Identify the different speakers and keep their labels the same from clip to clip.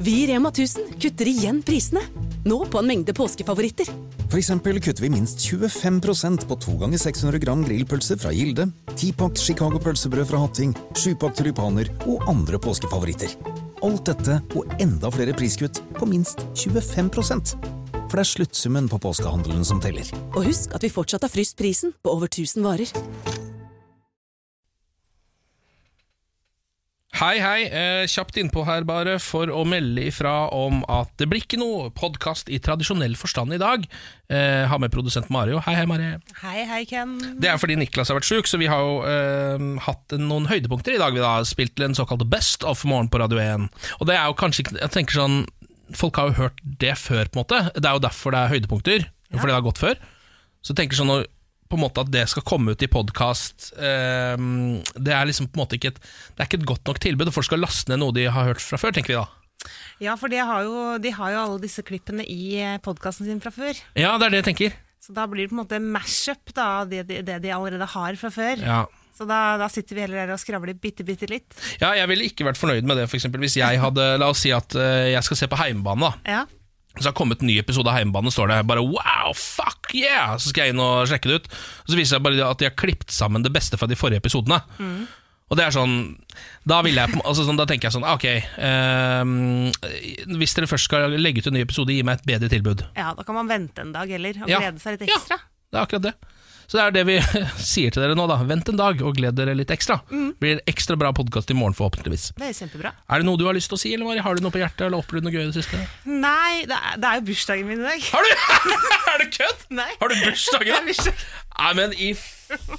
Speaker 1: Vi i Rema 1000 kutter igjen prisene. Nå på en mengde påskefavoritter.
Speaker 2: For eksempel kutter vi minst 25 på 2 ganger 600 gram grillpølse fra Gilde, 10-pakt Chicago pølsebrød fra Hatting, 7-pakt tulipaner og andre påskefavoritter. Alt dette og enda flere priskutt på minst 25 For det er sluttsummen på påskehandelen som teller.
Speaker 1: Og husk at vi fortsatt har fryst prisen på over 1000 varer.
Speaker 3: Hei, hei. Eh, kjapt innpå her bare for å melde ifra om at det blir ikke noe podkast i tradisjonell forstand i dag. Eh, har med produsent Mario. Hei, hei, Marie.
Speaker 4: Hei, hei, Ken.
Speaker 3: Det er fordi Niklas har vært sjuk, så vi har jo eh, hatt noen høydepunkter i dag. Vi da har spilt til en såkalt Best of Morgen på Radio 1. Og det er jo kanskje ikke Jeg tenker sånn Folk har jo hørt det før, på en måte. Det er jo derfor det er høydepunkter. Fordi det har gått før. Så jeg tenker sånn når, på en måte at det skal komme ut i podkast Det er liksom på en måte ikke et, det er ikke et godt nok tilbud, og folk skal laste ned noe de har hørt fra før, tenker vi da.
Speaker 4: Ja, for de har, jo, de har jo alle disse klippene i podkasten sin fra før.
Speaker 3: Ja, det er det jeg tenker.
Speaker 4: Så da blir det på en måte mash-up da, av det, de- det de allerede har fra før.
Speaker 3: Ja.
Speaker 4: Så da, da sitter vi heller her og skravler bitte, bitte litt.
Speaker 3: ja, jeg ville ikke vært fornøyd med det, for eksempel hvis jeg hadde La oss si at eh, jeg skal se på Heimbane, da.
Speaker 4: Ja.
Speaker 3: Så har det kommet en ny episode av Heimebane, står det. Bare wow, fuck yeah! Så skal jeg inn og sjekke det ut. Og så viser det seg bare at de har klippet sammen det beste fra de forrige episodene. Og det er sånn Da, vil jeg, på- altså sånn, da tenker jeg sånn, ok ehm, Hvis dere først skal legge ut en ny episode, gi meg et bedre tilbud.
Speaker 4: ja, da kan man vente en dag heller og
Speaker 3: Ja.
Speaker 4: glede seg litt
Speaker 3: Ja,
Speaker 4: ekstra.
Speaker 3: det er akkurat det. Så det er det vi sier til dere nå, da. Vent en dag og gled dere litt ekstra.
Speaker 4: Mm.
Speaker 3: Det blir en ekstra bra podkast i morgen, forhåpentligvis.
Speaker 4: Det er kjempebra.
Speaker 3: Er det noe du har lyst til å si, eller Mari? har du noe på hjertet? Eller opplevd noe gøy i det siste?
Speaker 4: Nei, det er, det er jo bursdagen min i dag.
Speaker 3: Har du Er det kødd?
Speaker 4: Nei.
Speaker 3: Har du bursdag i
Speaker 4: Det er
Speaker 3: dag?
Speaker 4: bursdag.
Speaker 3: Nei, men i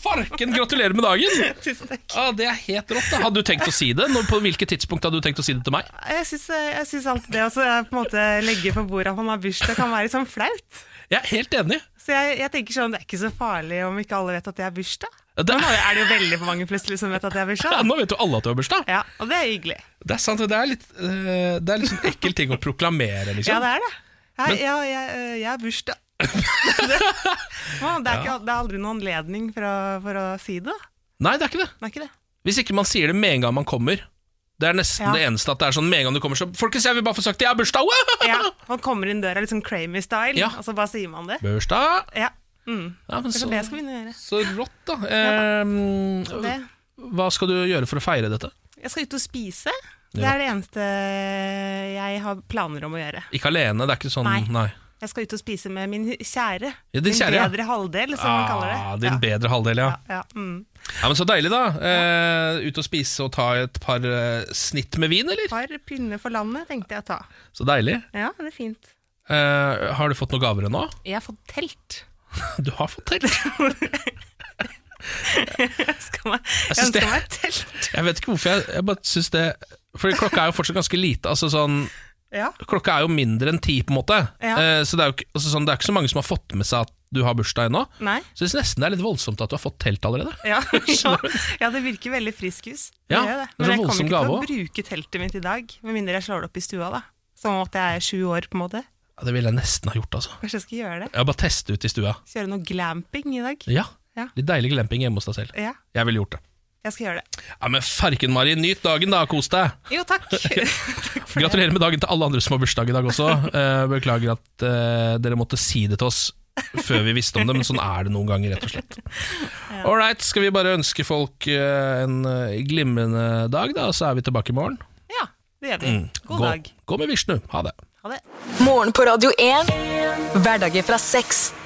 Speaker 3: farken, gratulerer med dagen!
Speaker 4: Tusen takk.
Speaker 3: Ah, det er helt rått. da Hadde du tenkt å si det? Når, på hvilket tidspunkt hadde du tenkt å si det til meg?
Speaker 4: Jeg syns, jeg syns alltid det å så på en måte legge på bordet at man har bursdag, kan være litt sånn flaut.
Speaker 3: Jeg er helt enig.
Speaker 4: Så jeg, jeg tenker sånn, det er ikke så farlig om ikke alle vet at jeg har bursdag.
Speaker 3: Det,
Speaker 4: Nå er det jo veldig mange plutselig som vet at jeg har
Speaker 3: ja,
Speaker 4: bursdag.
Speaker 3: nå vet jo alle at du har bursdag.
Speaker 4: Ja, og det er hyggelig.
Speaker 3: Det er sant, det er litt, eh, det er litt sånn ekkel ting å proklamere,
Speaker 4: Ja,
Speaker 3: liksom.
Speaker 4: det er det. Jeg, jeg, jeg, øh, jeg har bursdag. det, Man, det, er ikke, det er aldri noen anledning for å, for å si det. da.
Speaker 3: Nei, det er ikke det.
Speaker 4: Det er ikke det.
Speaker 3: Hvis ikke man sier det med en gang man kommer. Det er nesten
Speaker 4: Ja.
Speaker 3: det eneste at det er sånn med en gang du kommer så Folkens, jeg vil bare få sagt jeg har bursdag! Wow!
Speaker 4: Ja, man kommer inn døra litt sånn Cramy-style,
Speaker 3: Ja.
Speaker 4: og så bare sier man det.
Speaker 3: Bursdag!
Speaker 4: Ja, mm.
Speaker 3: Ja, men
Speaker 4: Kanskje
Speaker 3: så,
Speaker 4: det skal vi begynne å gjøre.
Speaker 3: så rått, da. Eh,
Speaker 4: Det.
Speaker 3: hva skal du gjøre for å feire dette?
Speaker 4: Jeg skal ut og spise. Det
Speaker 3: Ja.
Speaker 4: er det eneste jeg har planer om å gjøre.
Speaker 3: Ikke alene, det er ikke sånn
Speaker 4: Nei.
Speaker 3: nei.
Speaker 4: Jeg skal ut og spise med min kjære.
Speaker 3: Ja, din
Speaker 4: min
Speaker 3: kjære, ja.
Speaker 4: bedre halvdel, som man kaller det.
Speaker 3: Ah, din bedre halvdel, ja.
Speaker 4: ja, ja, mm.
Speaker 3: ja. men Så deilig, da. Eh, ut og spise og ta et par eh, snitt med vin, eller?
Speaker 4: Par pinner for landet tenkte jeg å ta.
Speaker 3: Så deilig.
Speaker 4: Ja, det er fint.
Speaker 3: Eh, har du fått noen gaver ennå?
Speaker 4: Jeg har fått telt.
Speaker 3: Du har fått telt.
Speaker 4: Jeg ønsker meg, jeg
Speaker 3: synes det-
Speaker 4: ønsker meg telt.
Speaker 3: Jeg vet ikke hvorfor jeg, jeg bare syns det Fordi klokka er jo fortsatt ganske lite. Altså sånn,
Speaker 4: Ja.
Speaker 3: klokka er jo mindre enn ti, på en måte.
Speaker 4: Ja.
Speaker 3: Eh, så det er jo ikke, altså sånn, det er ikke så mange som har fått med seg at du har bursdag ennå.
Speaker 4: Nei.
Speaker 3: Så jeg syns nesten det er litt voldsomt at du har fått telt allerede.
Speaker 4: Ja, ja, ja, det virker veldig friskus. Det
Speaker 3: Ja,
Speaker 4: gjør det.
Speaker 3: det er så
Speaker 4: Men jeg
Speaker 3: voldsom
Speaker 4: kommer ikke til å
Speaker 3: gave
Speaker 4: bruke teltet mitt i dag, med mindre jeg slår det opp i stua, da. Som om at jeg er sju år, på en måte.
Speaker 3: Ja, det ville jeg nesten ha gjort, altså.
Speaker 4: Kanskje jeg skal gjøre det?
Speaker 3: Jeg har bare testet ut i stua.
Speaker 4: Kjøre noe glamping i dag?
Speaker 3: Ja.
Speaker 4: Ja.
Speaker 3: Litt deilig glamping hjemme hos deg selv.
Speaker 4: Ja,
Speaker 3: Jeg ville gjort det.
Speaker 4: jeg skal gjøre det.
Speaker 3: Ja, men farken, Mari. Nyt dagen, da. Kos deg.
Speaker 4: Jo, takk. takk for det.
Speaker 3: Gratulerer med dagen til alle andre som har bursdag i dag også. Eh, Beklager at eh, dere måtte si det til oss før vi visste om det, men sånn er det noen ganger, rett og slett. Ålreit, skal vi bare ønske folk eh, en eh, glimrende dag, da, og så er vi tilbake i morgen.
Speaker 4: Ja, det gjør vi. God
Speaker 3: Gå,
Speaker 4: dag.
Speaker 3: gå med Vishnu. Ha det.
Speaker 4: Ha det.
Speaker 5: Morgen på Radio 1. Hverdager fra seks.